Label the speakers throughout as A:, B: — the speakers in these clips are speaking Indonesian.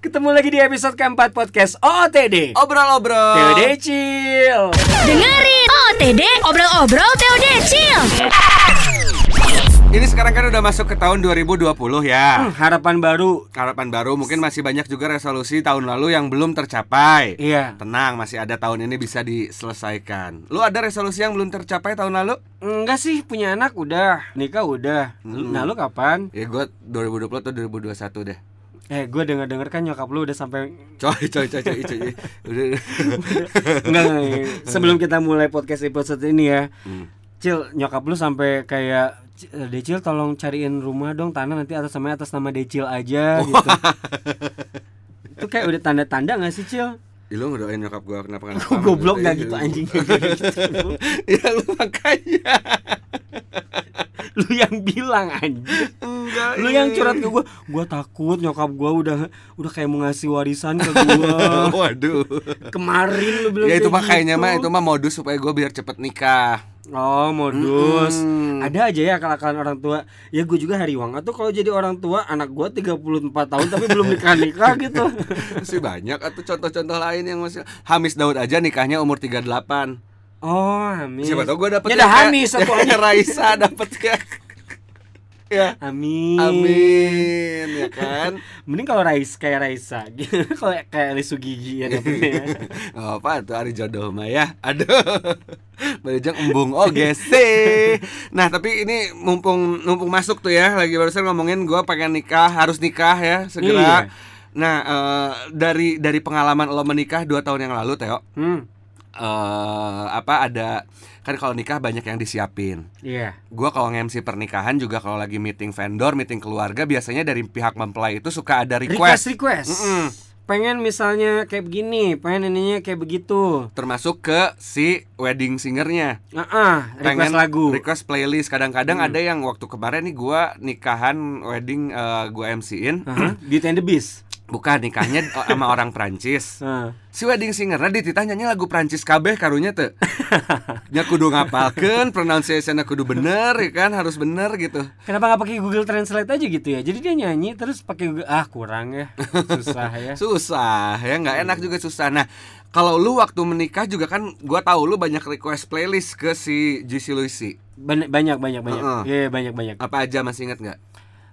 A: Ketemu lagi di episode keempat podcast OOTD.
B: Obrol-obrol.
A: TOD Chill.
C: Dengerin OTD obrol-obrol TOD Chill.
B: Ini sekarang kan udah masuk ke tahun 2020 ya.
A: Hmm, harapan baru.
B: Harapan baru mungkin masih banyak juga resolusi tahun lalu yang belum tercapai.
A: Iya.
B: Tenang, masih ada tahun ini bisa diselesaikan. Lu ada resolusi yang belum tercapai tahun lalu?
A: Enggak sih punya anak udah, nikah udah. Lu-
B: Mm-mm.
A: Nah lu kapan?
B: Ya gue 2020 atau 2021 deh.
A: Eh gue denger denger kan nyokap lu udah sampai
B: Coy, coy, coy, coy, coy. Udah.
A: enggak, enggak, enggak. Sebelum kita mulai podcast episode ini ya,
B: Hmm.
A: Cil nyokap lu sampai kayak "C- Decil tolong cariin rumah dong tanah nanti atas namanya atas nama Decil aja gitu. Itu kayak udah tanda-tanda gak sih Cil?
B: Ih, Lu ngedoain nyokap gue kenapa kan?
A: Kok goblok gak gitu anjing
B: ya lu makanya.
A: Lu yang bilang anjing
B: Enggak. iya,
A: Lu yang curhat ke gue Gue takut nyokap gue udah udah kayak mau ngasih warisan ke gue
B: Waduh.
A: Kemarin lu bilang
B: Ya itu
A: kayak
B: makanya
A: gitu.
B: mah itu mah modus supaya gue biar cepet nikah.
A: Oh modus
B: Mm-mm.
A: Ada aja ya akal-akalan orang tua Ya gue juga Hariwang Atau kalau jadi orang tua Anak gue 34 tahun Tapi belum nikah-nikah gitu
B: Masih banyak atau contoh-contoh lain yang masih Hamis Daud aja nikahnya umur 38.
A: Oh amin
B: Siapa tau gue dapet
A: Ya udah
B: kayak-
A: Hamis
B: yang
A: satu
B: kayak
A: aja
B: Raisa dapet ya. ya.
A: Amin.
B: Amin ya kan.
A: Mending kalau Rais kayak Raisa, gitu. kalau kayak Lisu Gigi ya dapetnya ya.
B: Gak apa tuh hari jodoh mah ya. Aduh. Barejang embung oge sih. Nah, tapi ini mumpung mumpung masuk tuh ya, lagi barusan ngomongin gua pengen nikah, harus nikah ya segera.
A: Iya.
B: Nah, eh, dari dari pengalaman lo menikah dua tahun yang lalu, Teo.
A: Hmm,
B: eh apa ada kan kalau nikah banyak yang disiapin.
A: iya.
B: Gua kalau nge-MC pernikahan juga kalau lagi meeting vendor, meeting keluarga biasanya dari pihak mempelai itu suka ada
A: Request
B: request,
A: request.
B: Mm-mm.
A: Pengen misalnya kayak begini, pengen ininya kayak begitu.
B: termasuk ke si wedding singernya.
A: Ah, ah, request
B: Pengen
A: lagu. Hmm.
B: request playlist. Kadang-kadang ada yang waktu kemarin nih gua nikahan wedding eh, gua MC-in.
A: Aha, Beauty and the Beast.
B: Bukan nikahnya eh, sama orang Prancis.
A: Ah.
B: Si wedding singernya dititah nyanyi lagu Prancis kabeh karunya teu. Nya kudu ngapalkeun, pronunciation-na kudu bener ya kan, harus bener gitu.
A: Kenapa nggak pakai Google Translate aja gitu ya? Jadi dia nyanyi terus pakai Google. Ah kurang ya, susah ya.
B: susah ya nggak enak juga susah nah kalau lu waktu menikah juga kan gua tahu lu banyak request playlist ke si JC Luisi
A: Ban- Banyak banyak banyak.
B: Mm-mm.
A: Iya banyak banyak.
B: apa aja masih inget nggak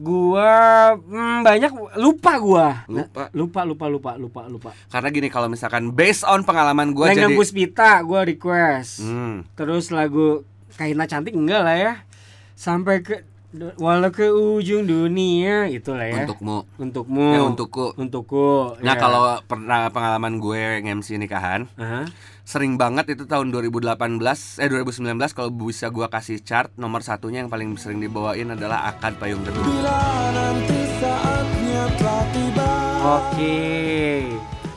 A: Gua hmm, banyak lupa gua.
B: Lupa.
A: lupa lupa lupa lupa lupa.
B: karena gini kalau misalkan based on pengalaman gua
A: Lengang
B: jadi
A: Puspita gue request
B: hmm,
A: Terus lagu Kaina Cantik enggak lah ya Sampai ke du- Walau ke ujung dunia Itulah ya
B: untukmu
A: Untukmu
B: ya untukku
A: Untukku
B: nah
A: ya.
B: kalau pernah pengalaman gue nge-MC nikahan
A: Aha.
B: sering banget itu tahun 2018 eh 2019 kalau bisa gua kasih chart nomor satunya yang paling sering dibawain adalah akad payung teduh
A: Oke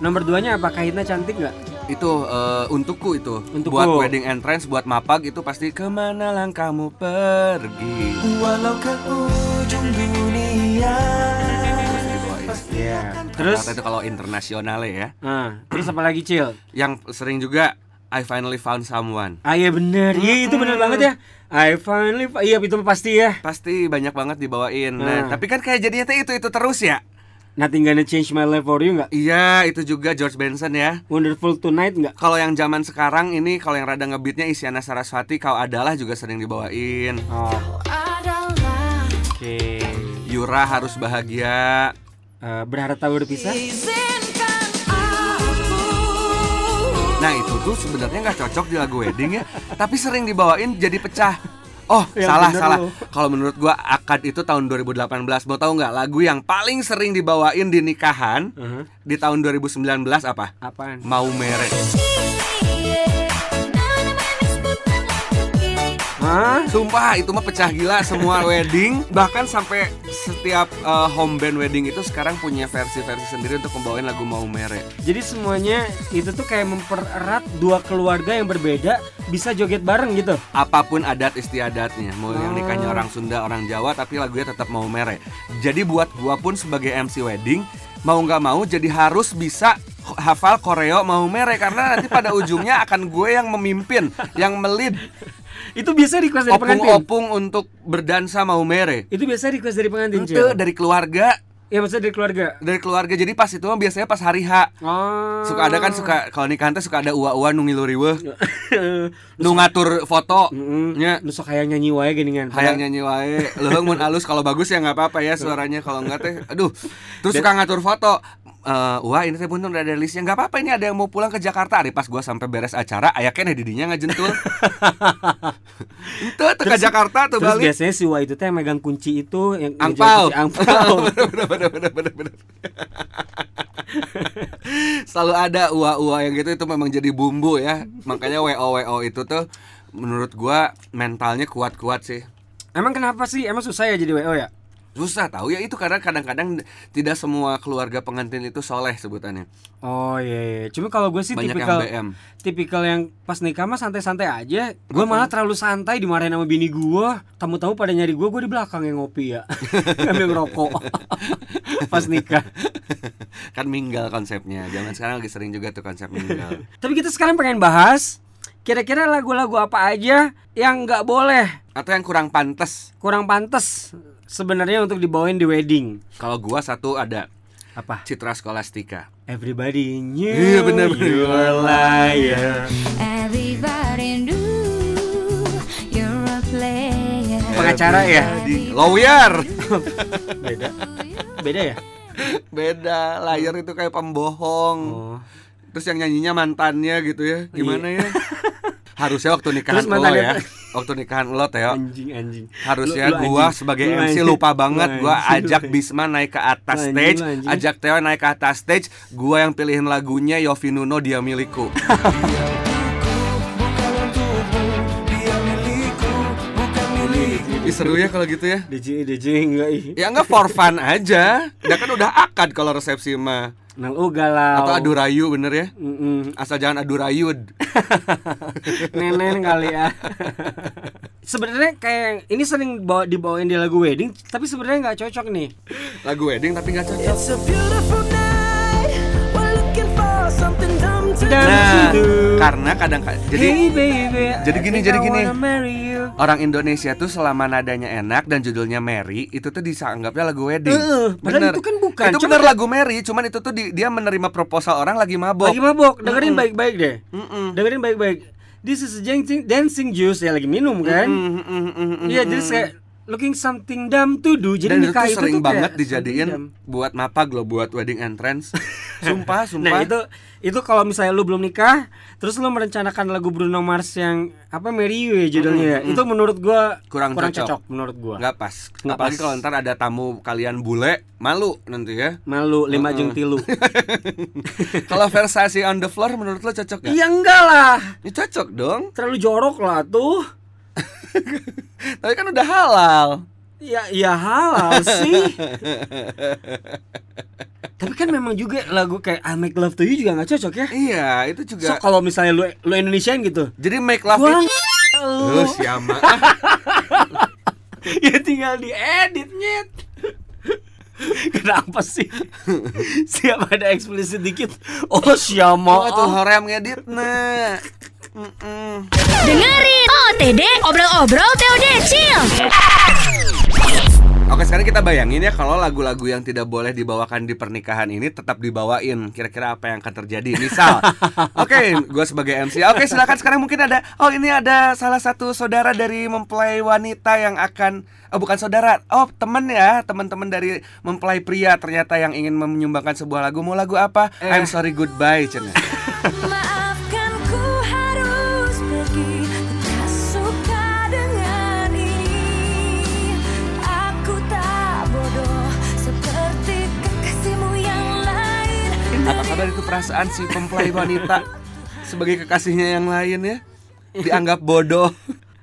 A: Nomor duanya apa Kaina Cantik enggak?
B: itu eh, untukku itu
A: Untukku.
B: buat wedding entrance buat mapag itu pasti kemana langkahmu pergi
D: Walau ke ujung dunia
A: Iya
B: terus
A: Terus
B: itu kalau internasional ya
A: ah, Terus apa lagi Cil?
B: yang sering juga I finally found someone
A: Ah iya bener Iya itu bener banget ya I finally Iya itu pasti ya
B: pasti banyak banget dibawain nah,
A: Hmm.
B: tapi kan kayak jadinya teh itu itu terus ya
A: Nothing gonna change my life for you enggak?
B: iya itu juga George Benson ya
A: Wonderful tonight enggak?
B: kalau yang zaman sekarang ini kalau yang rada ngebeatnya Isyana Saraswati kau adalah juga sering dibawain
A: Oh, Oke
B: Yura harus bahagia
A: Eh, berharap tak berpisah
D: Izinkan aku
B: Nah itu tuh sebenarnya nggak cocok di lagu wedding ya, tapi sering dibawain jadi pecah. Oh
A: Yang
B: salah
A: Iya, bener
B: salah.
A: lu.
B: Kalau menurut gua akad itu tahun 2018. Mau tahu nggak lagu yang paling sering dibawain di nikahan
A: Heeh.
B: di tahun 2019 apa?
A: apaan
B: Mau mere.
A: Hah?
B: Sumpah itu mah pecah gila semua wedding bahkan sampai setiap eh, home band wedding itu sekarang punya versi-versi sendiri untuk membawain lagu Mau mere.
A: jadi semuanya itu tuh kayak mempererat dua keluarga yang berbeda bisa joget bareng gitu
B: apapun adat istiadatnya mau yang nikahnya orang Sunda orang Jawa tapi lagunya tetap mau mere jadi buat gua pun sebagai MC wedding mau nggak mau jadi harus bisa ho- hafal koreo mau mere karena nanti pada ujungnya akan gue yang memimpin yang melid
A: itu biasa request dari pengantin
B: opung-opung untuk berdansa mau mere
A: itu biasa request dari pengantin
B: itu dari keluarga
A: Iya maksudnya dari keluarga.
B: dari keluarga jadi pas itu mah biasanya pas hari H
A: Oh.
B: suka ada kan suka kalau nikahan teh suka ada ua-ua nu ngiluriweuh
A: Iya.
B: nu ngatur foto nya
A: Lu sok hayang nyanyi wae gini kan.
B: hayang nyanyi wae leuheung mun alus kalau bagus ya nggak apa-apa ya suaranya kalau enggak teh aduh terus suka ngatur foto Eh, wah ini teh buntung udah ada listnya nggak apa-apa ini ada yang mau pulang ke Jakarta hari pas gua sampai beres acara ayaknya di didinya ngajentul itu tuh ke Jakarta tuh
A: Terus
B: balik
A: biasanya si Wa itu teh yang megang kunci itu yang yang jual
B: Angpau.
A: kunci Angpau.
B: bener bener bener bener bener. Selalu ada ua-ua yang gitu itu memang jadi bumbu ya. Makanya WO WO itu tuh menurut gua mentalnya kuat-kuat sih.
A: Emang kenapa sih? Emang susah ya jadi WO ya?
B: Susah tahu ya itu karena kadang-kadang tidak semua keluarga pengantin itu soleh sebutannya.
A: Oh iya, iya. cuma kalau gue sih
B: Banyak yang
A: tipikal
B: BM.
A: tipikal yang pas nikah mah santai-santai aja. Gue malah terlalu santai dimarahin sama bini gue. Tamu-tamu pada nyari gue, gue di belakang yang ngopi ya, ngambil ngerokok pas nikah.
B: kan minggal konsepnya. Zaman sekarang lagi sering juga tuh konsep minggal.
A: Tapi kita sekarang pengen bahas kira-kira lagu-lagu apa aja yang nggak boleh
B: Atau yang kurang pantas.
A: kurang pantas sebenarnya untuk dibawain di wedding
B: Kalau gua satu ada
A: apa?
B: Citra Skolastika.
A: Everybody knew
B: Iya, bener, bener.
A: you were liar.
E: Everybody knew you're a player.
A: Pengacara ya?
B: Di lawyer.
A: Beda, beda ya?
B: Beda, layar itu kayak pembohong.
A: Oh. Iya.
B: Terus yang nyanyinya mantannya gitu ya. Gimana ya? Harusnya waktu nikahan
A: Terus
B: lo
A: mantannya
B: ya.
A: tuh-
B: Waktu nikahan lo Teo.
A: Anjing anjing.
B: Harusnya
A: Lu- lu
B: gua
A: anjing.
B: sebagai
A: Lu
B: MC
A: anjing. Lu
B: lupa banget gua
A: anjing, lu
B: ajak
A: anjing.
B: Bisma naik ke atas
A: Lu anjing,
B: stage,
A: lu anjing.
B: ajak Teo naik ke atas stage, gua yang pilihin lagunya Yofi Nuno dia milikku.
D: Bukan untukmu, dia milikku, bukan milikmu.
B: Ih, seru ya kalau gitu ya.
A: DJ DJ enggak ih.
B: Ya enggak for fun aja. Ya kan udah akad kalau resepsi mah.
A: Nang oh galau.
B: Atau adu rayu bener ya.
A: Mm-mm.
B: Asal jangan adu rayu.
A: Nenen kali ya. sebenarnya kayak yang- ini sering bawa dibawain di lagu wedding, tapi sebenarnya nggak cocok nih.
B: Lagu wedding tapi nggak cocok.
D: It's a beautiful night. We're looking for something dumb to
A: Dan
B: Nah,
A: situ.
B: karena kadang jadi
A: Hey, baby,
B: jadi
A: I
B: gini,
A: think
B: jadi
A: I
B: gini.
A: wanna marry you.
B: orang Indonesia tuh selama nadanya enak dan judulnya Mary itu tuh dianggapnya lagu wedding.
A: Heeh, padahal
B: Bener.
A: itu kan bukan.
B: Itu
A: Cuma-
B: bener lagu Mary, cuman itu tuh di- dia menerima proposal orang lagi mabok.
A: Lagi mabok, dengerin baik-baik deh.
B: Oh. Mm-mm.
A: Dengerin baik-baik. This is a dancing, dancing juice ya lagi minum kan?
B: Mm, mm, mm, mm, mm,
A: Iya,
B: mm.
A: jadi kayak looking something dumb to do. Jadi
B: dan itu
A: nikah
B: tuh sering
A: tuh kayak
B: banget
A: something dumb.
B: dijadiin buat mapag loh buat wedding entrance. sumpah,
A: Nah
B: sumpah.
A: itu itu kalau misalnya lu belum nikah, terus lu merencanakan lagu Bruno Mars yang apa Mary You ya judulnya, ya? itu menurut gua
B: Kurang cocok.
A: menurut gua.
B: nggak pas.
A: Nggak
B: Apalagi
A: pas.
B: kalau ntar ada tamu kalian bule, malu nanti ya.
A: Malu lima jeng tilu.
B: kalau Versace on the floor menurut lo cocok nggak?
A: Iya enggak lah,
B: Ya, cocok dong.
A: terlalu jorok lah tuh.
B: Tapi kan udah halal.
A: Ya ya halal sih. Tapi kan memang juga lagu kayak I Make Love to You juga nggak cocok ya.
B: Iya, itu
A: So
B: juga.
A: kalau misalnya lu lu Indonesian gitu,
B: Jadi make love
A: gua
B: itu
A: lu
B: Lu siapa?
A: ya tinggal diedit nyet kenapa sih siap ada eksplisit dikit oh
B: Oh,
A: siapa
B: tuh horem ngedit nah.
C: Dengerin OTD Obrol-obrol Teo Decil
B: Oke, sekarang kita bayangin ya kalau lagu-lagu yang tidak boleh dibawakan di pernikahan ini tetap dibawain. Kira-kira apa yang akan terjadi? Misal, oke, gue sebagai MC. Oke, silakan sekarang mungkin ada. Oh, ini ada salah satu saudara dari mempelai wanita yang akan. Oh, bukan saudara. Oh, teman ya, teman-teman dari mempelai pria ternyata yang ingin menyumbangkan sebuah lagu. Mau lagu apa? I'm sorry goodbye, Cenah.
E: Maafkan ku harus pergi Tak suka dengan ini Aku tak bodoh Seperti kekasihmu yang lain
B: Apa kabar itu perasaan si mempelai wanita sebagai kekasihnya yang lain ya? Dianggap bodoh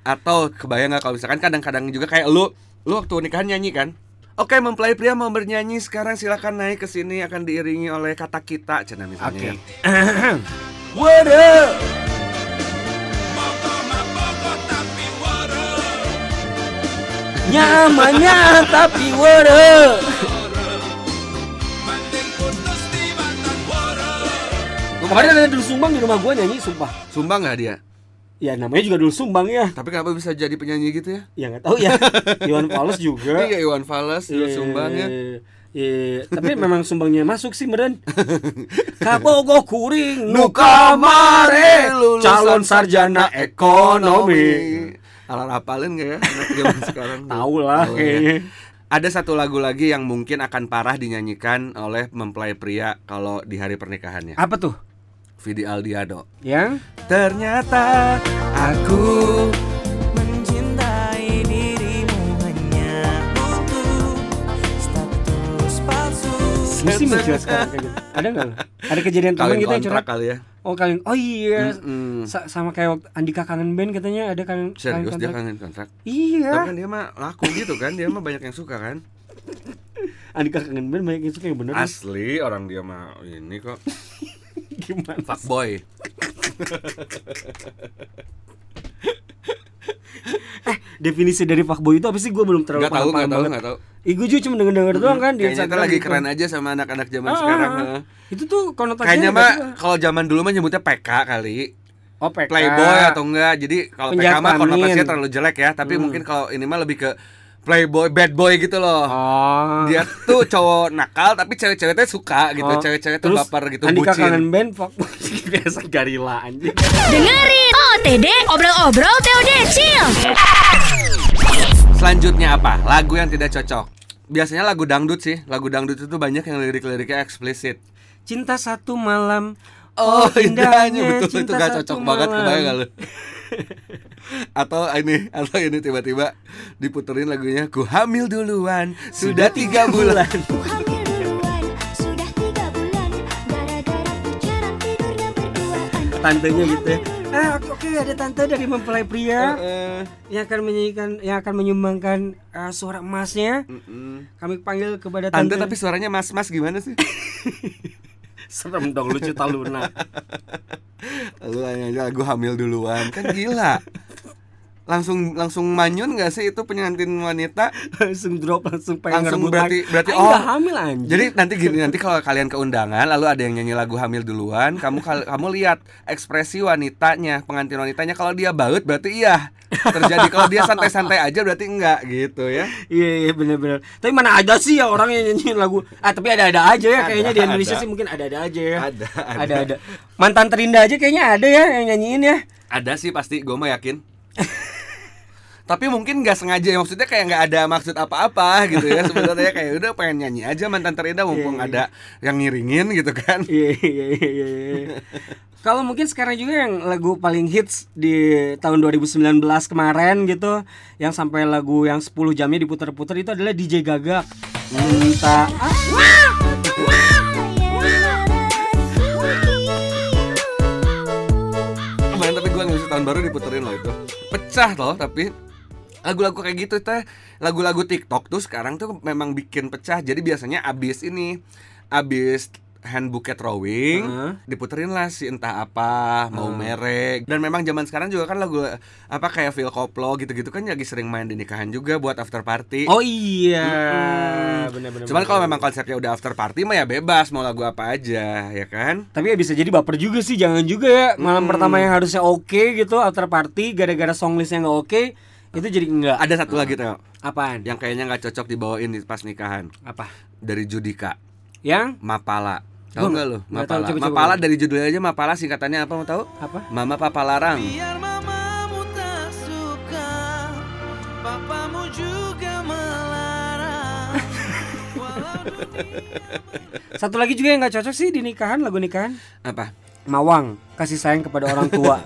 B: atau kebayang nggak kalau misalkan kadang-kadang juga kayak lu, lu waktu nikahan nyanyi kan? Oke, mempelai pria mau bernyanyi sekarang silakan naik ke sini akan diiringi oleh kata kita cina misalnya. ya.
A: Oke.
B: What up?
A: nyamannya tapi waduh kemarin ada dul sumbang di rumah gua nyanyi sumpah
B: Sumbang nggak dia?
A: ya namanya juga dul sumbang ya
B: Tapi kenapa bisa jadi penyanyi gitu ya?
A: ya nggak tahu ya Iwan Fals juga
B: Iya Iwan Fals dulu sumbang ya.
A: Eh, Iya, tapi memang sumbangnya masuk sih meren. Kabogo kuring
B: Nuka mare eh, lulusan
A: calon sarjana ekonomi.
B: Alar apalin gak ya anak zaman sekarang?
A: Tahu lah
B: Tahu ya.
A: kayaknya.
B: Ada satu lagu lagi yang mungkin akan parah dinyanyikan oleh mempelai pria kalau di hari pernikahannya.
A: Apa tuh? Ya?
B: Vidi Aldiano.
A: Yang
B: Ternyata aku
F: Mencintai dirimu hanya butuh status palsu.
A: mesti mencuat sekarang kayak gitu. Ada nggak? lo? Ada kejadian teman
B: kawin
A: gitu yang
B: kontrak
A: curhat?
B: kali ya.
A: Oh kalian, oh iya,
B: Mm-mm.
A: Sa- sama kayak waktu Andika kangen band katanya ada kangen.
B: Serius
A: kangen
B: dia
A: kontrak.
B: kangen kontrak.
A: Iya.
B: Tapi kan dia mah laku gitu kan, dia mah banyak yang suka kan.
A: Andika kangen band banyak yang suka yang bener.
B: Asli orang dia mah ini kok
A: Gimana?
B: fuckboy.
A: Definisi dari fuckboy itu apa sih? Gue belum terlalu
B: Gak tahu,
A: paham
B: gak tahu,
A: banget.
B: gak tahu.
A: Ih, gue juga cuma denger-denger doang kan di
B: Kayaknya kita
A: Instagram
B: lagi
A: gitu.
B: keren aja sama anak-anak zaman
A: Ah,
B: sekarang.
A: ah,
B: heeh.
A: ah. Itu tuh konotasinya
B: Kayaknya
A: nggak
B: mah
A: suka.
B: kalau zaman dulu mah nyebutnya PK kali.
A: Oh, PK.
B: Playboy atau enggak. Jadi kalau PK
A: Penjahat Hmm.
B: mah konotasinya
A: panin.
B: terlalu jelek ya, tapi mungkin kalau ini mah lebih ke playboy, bad boy gitu loh.
A: Oh.
B: Dia tuh cowok nakal tapi cewek-ceweknya suka gitu.
A: Oh.
B: Cewek-cewek tuh
A: Terus
B: baper gitu,
A: Andika
B: bucin.
A: kangen band fuckboy biasa garila anjing.
C: Dengerin OOTD obrol-obrol Teodecil.
B: Selanjutnya apa? Lagu yang tidak cocok. Biasanya lagu dangdut sih. Lagu dangdut itu banyak yang lirik-liriknya eksplisit.
A: Cinta satu malam.
B: Oh, indahnya betul itu
A: cinta satu
B: gak cocok banget
A: malam.
B: kebayang gak lu? atau ini atau ini tiba-tiba diputerin lagunya ku hamil duluan sudah tiga bulan
E: Ku hamil duluan, sudah tiga bulan Gara-gara ku jarang tidur dan berduaan
A: Tantenya gitu ya. Ah, oke, oke, ada tante dari mempelai
B: Eh,
A: pria yang akan menyanyikan yang akan menyumbangkan eh, suara emasnya. Kami panggil kepada tante,
B: tante tapi suaranya mas-mas gimana sih
A: serem dong lucu taluna.
B: lu nyanyi aja lagu hamil duluan kan gila langsung langsung manyun gak sih itu penyantin wanita
A: langsung drop langsung pengen
B: Langsung
A: ngerebut
B: berarti-
A: lagi.
B: berarti,
A: Aing nggak
B: oh.
A: hamil anjing.
B: Jadi nanti gini nanti kalau kalian ke undangan lalu ada yang nyanyi lagu hamil duluan, kamu kal- kamu lihat ekspresi wanitanya, pengantin wanitanya kalau dia baut berarti iya terjadi kalau dia santai-santai aja berarti enggak gitu ya.
A: Iya iya benar-benar. Tapi mana ada sih ya orang yang nyanyiin lagu. Ah tapi ada-ada aja ya kayaknya di Indonesia
B: ada.
A: sih mungkin ada-ada aja ya.
B: Ada, ada.
A: Ada-ada. Mantan terindah aja kayaknya ada ya yang nyanyiin ya.
B: Ada sih pasti gue mah yakin. Tapi mungkin nggak sengaja ya maksudnya kayak nggak ada maksud apa-apa gitu ya sebenarnya kayak udah pengen nyanyi aja mantan terindah mumpung ada yang ngiringin gitu kan.
A: Iya iya iya. iya. Kalau mungkin sekarang juga yang lagu paling hits di tahun 2019 kemarin gitu Yang sampai lagu yang 10 jamnya diputer-puter itu adalah DJ Gagak Minta
B: Kemarin tapi gue ngisi tahun baru diputerin loh itu Pecah loh tapi Lagu-lagu kayak gitu teh Lagu-lagu TikTok tuh sekarang tuh memang bikin pecah Jadi biasanya abis ini Abis hand bouquet throwing
A: Heeh.
B: diputerin lah si entah apa mau merek dan memang zaman sekarang juga kan lagu apa kayak Phil Koplo gitu-gitu kan lagi sering main di nikahan juga buat after party
A: Oh iya
B: Hmm.
A: Bener-bener
B: cuman kalau memang konsepnya udah after party mah ya bebas mau lagu apa aja ya kan
A: Tapi ya bisa jadi baper juga sih, jangan juga ya malam pertama yang harusnya oke gitu after party gara-gara songlistnya nggak oke itu jadi enggak.
B: ada satu lagi tuh
A: Apaan?
B: yang kayaknya nggak cocok dibawain di pas nikahan
A: Apa?
B: dari Judika
A: Yang
B: Mapala
A: Gua
B: tahu nggak
A: nggak-
B: lo
A: nggak tahu,
B: Mapala
A: coba-coba.
B: Mapala dari judulnya aja Mapala singkatannya apa mau tahu
A: apa?
B: Mama Papa Larang
F: Biar mamamu tak suka, papamu juga melarang. Walau
A: Satu lagi juga yang nggak cocok sih di nikahan lagu nikahan.
B: apa
A: Mawang, kasih sayang kepada orang tua.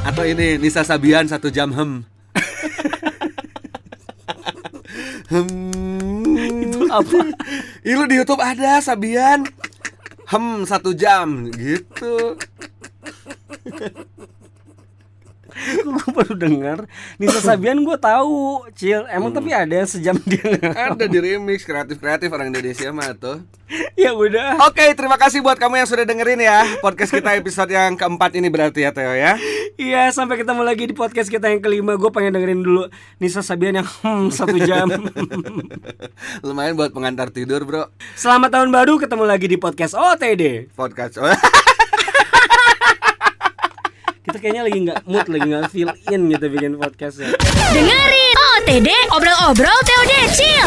B: atau ini Nisa Sabian satu jam hem hem itu apa Ih, lu di YouTube ada Sabian hem satu jam gitu
A: gue baru dengar Nisa Sabian gue tahu, Cil. Emang tapi ada yang sejam dia nge-
B: ada di remix kreatif kreatif orang Indonesia mah tuh
A: Ya udah.
B: Oke, terima kasih buat kamu yang sudah dengerin ya podcast kita episode yang keempat ini berarti ya Teo ya.
A: Iya, sampai ketemu lagi di podcast kita yang kelima. Gue pengen dengerin dulu Nisa Sabian yang hmm, satu jam.
B: Lumayan buat pengantar tidur, Bro.
A: Selamat tahun baru, ketemu lagi di podcast OTD.
B: Podcast.
A: Kita kayaknya lagi nggak mood, lagi nggak feel in gitu bikin podcastnya.
E: Dengerin OTD Obrol-obrol TOD Chill